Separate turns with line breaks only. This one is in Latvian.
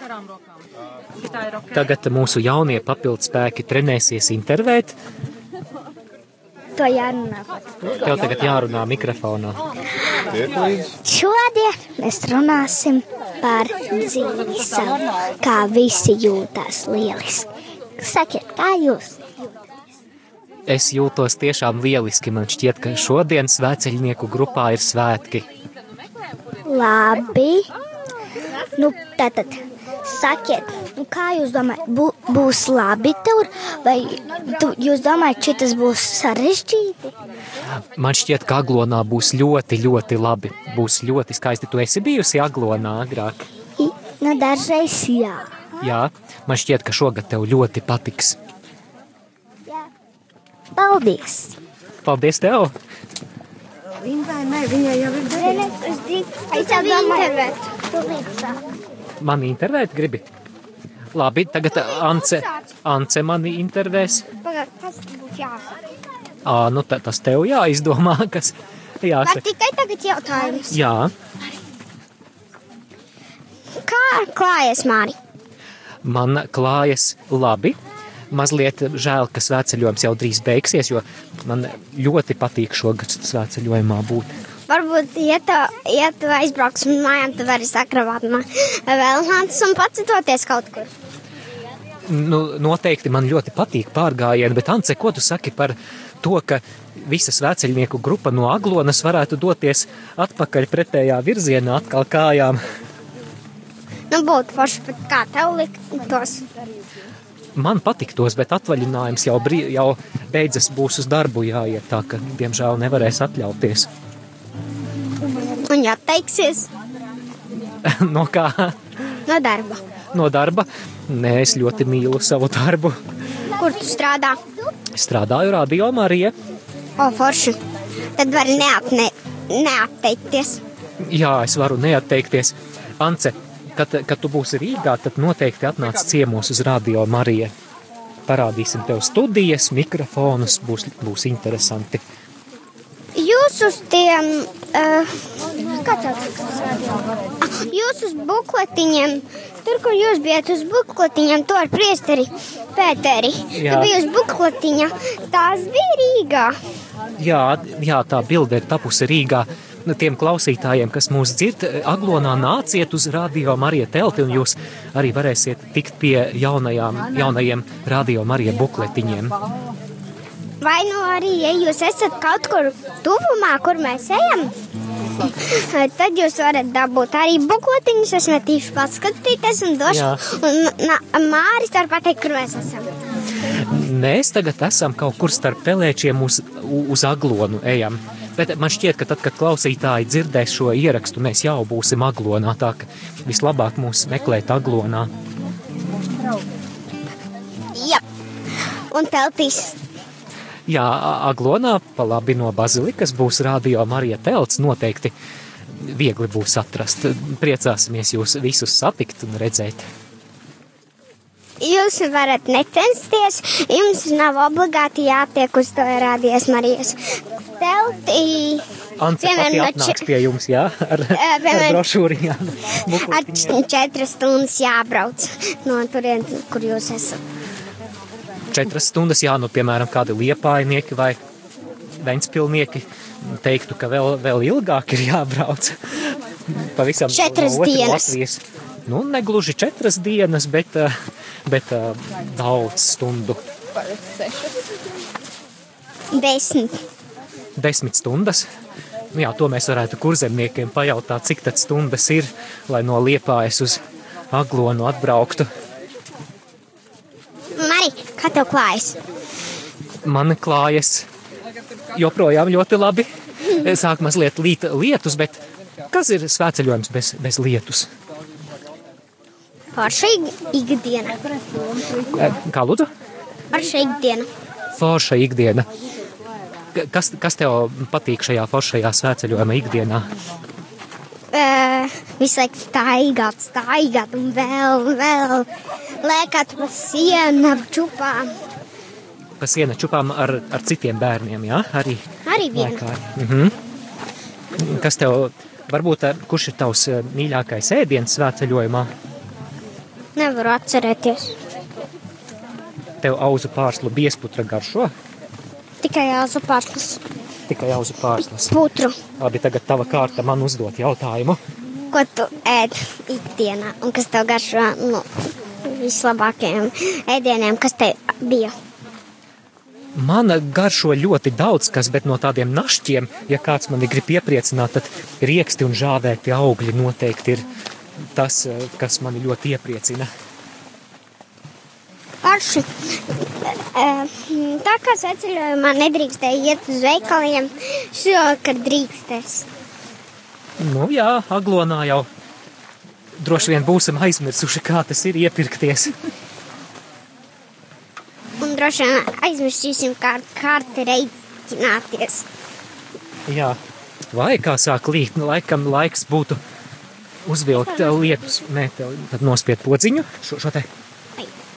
garām rokām. Tā ir ok.
Tagad mūsu jaunie papildspēki trenēsies intervēt.
To jārunā. pat.
Tev tagad jārunā mikrofonā.
Šodien mēs runāsim par zīmēm, kā visi jūtas lieliski. Sakiet, kā jūs?
Es jūtos tiešām lieliski. Man šķiet, ka šodien svētceļnieku grupā ir svētki.
Labi. Nu, tātad, sakiet, nu, kā jūs domājat, bū, būs labi tur, vai tu, jūs domājat, šitas būs sarežģīti?
Man šķiet, ka Aglonā būs ļoti, ļoti labi. Būs ļoti skaisti. Tu esi bijusi Aglonā agrāk.
I, nu, dažreiz jā.
Jā, man šķiet, ka šogad tev ļoti patiks.
Paldies!
Paldies tev!
Es jau intervētu.
Mani intervēt gribi? Labi, tagad Ance, Ance mani intervēs. Ā, nu ta, tas tev jāizdomā, kas jāsaka.
tikai tagad jautājums.
Jā,
Kā klājas Māri?
man klājas labi. Mazliet žēl, ka svētceļojums jau drīz beigsies, jo man ļoti patīk šogad svētceļojumā būt.
Varbūt, ja tu, ja tu aizbrauks uz mājām, tad vari sakravāt man vēl nācis un pacitoties kaut kur.
Nu, noteikti man ļoti patīk pārgājieni, bet Ance, ko tu saki par to, ka visa svētceļnieku grupa no Aglonas varētu doties atpakaļ pretējā virzienā atkal kājām?
Nu, būtu forši, bet kā tev liktos?
Man patiktos, bet atvaļinājums jau, brī, jau beidzas, būs uz darbu jāiet, tā ka, diemžēl, nevarēs atļauties.
Un jāteiksies
no kā?
no darba.
No darba? Nē, es ļoti mīlu savu darbu.
Kur tu strādā?
Strādāju radio Marija.
O, forši. Tad vari neapne, neapteikties.
Jā, es varu neatteikties. Ance, kad, kad tu būsi Rīgā, tad noteikti atnāc ciemos uz radio Marija. Parādīsim tev studijas, mikrofonus, būs, būs interesanti.
Jūs uz tiem, uh, jūs uz bukletiņiem, tur, kur jūs bijat uz bukletiņiem, to ar priesteri Pēteri.
Jā.
Tur bija uz bukletiņa, tās bija Rīgā.
Jā, jā tā bilde ir tapusi Rīgā. Nu, Tiem klausītājiem, kas mūs dzird, Aglonā nāciet uz radio Marija telti, un jūs arī varēsiet tikt pie jaunajām, jaunajiem radio Marija bukletiņiem.
Vai nu arī, ja jūs esat kaut kur tuvumā, kur mēs ejam, tad jūs varat dabūt arī bukletiņus, es netīšu paskatīties un došu,
Jā.
un nā- Māris var pateikt, kur mēs esam.
Mēs tagad esam kaut kur starp pelēčiem uz, u- uz aglonu ejam. Bet man šķiet, ka tad, kad klausītāji dzirdēs šo ierakstu, mēs jau būsim aglonā. Tā ka vislabāk mūs meklēt aglonā.
Jā. Un teltīs.
Jā, a- aglonā pa labi no bazilikas būs radio Marija telts noteikti. Viegli būs atrast. Priecāsimies jūs visus satikt un redzēt.
Jūs varat necensties, jums nav obligāti jātiek uz to rādījies Marijas teltī.
Ance,
Piemēram,
pati
no
atnāks
Če-
pie jums, jā, ar, ar
piemēram-
brošūriņām.
Ar
bukletiņiem.
čet- četras stundas jābrauc no turienes, kur jūs esat.
četras stundas, jā, nu, piemēram, kādi liepainieki vai ventspilnieki teiktu, ka vēl, vēl ilgāk ir jābrauc. Pavisam no
Četras
otras
dienas.
Latvijas. Nu, negluži četras dienas, bet, eh, bet eh, daudz stundu.
Desmit.
Desmit stundas. Nu, jā, to mēs varētu kurzemniekiem pajautāt, cik tad stundas ir, lai no liepājas uz aglonu atbrauktu.
Marī, kā tev klājas?
man klājas joprojām ļoti labi. Sāk mazliet līt lietus, bet kas ir svētceļojums bez, bez lietus?
Par šī ikdiena.
E, Kā lūdzu?
Par šī ikdiena.
Forša ikdiena. K- Kas, kas tev patīk šajā foršajā svētceļojuma ikdienā?
Uh, visu laiku staigāt, staigāt un vēl, vēl lēkāt pa sienu, ap čupām.
Pa sienu čupām ar, ar citiem bērniem, jā? Arī
Arī viena.
Mhm. Kas eh, tev, varbūt, e, kurš ir tavs e, mīļākais ēdiens svētceļojumā?
Nevaru atcerēties.
Tev auzu pārslu biesputra garšo?
Tikai jāsapārtas
Tikai auzu pārslas.
putru,
Labi, tagad tava kārta man uzdot jautājumu.
ko tu ēd ikdienā un kas tev garšo nu, vislabākajiem ēdieniem, kas te bija.
Man garšo ļoti daudz kas, bet no tādiem našķiem, ja kāds mani grib iepriecināt, tad rieksti un žāvēti augļi noteikti ir tas, eh, kas mani ļoti iepriecina.
Arši. Tā kā ceļojumā nedrīkstēja iet uz veikaliem, šogad drīkstēs.
Nu jā, aglonā jau droši vien būsim aizmirsuši, kā tas ir iepirkties.
Un droši vien aizmirsīsim kā ar karti reiķināties.
Jā, vai kā sāk līkt, nu, laikam laiks būtu uzvilkt eh, lietus, nē, tev tad nospied podziņu, šo, šo te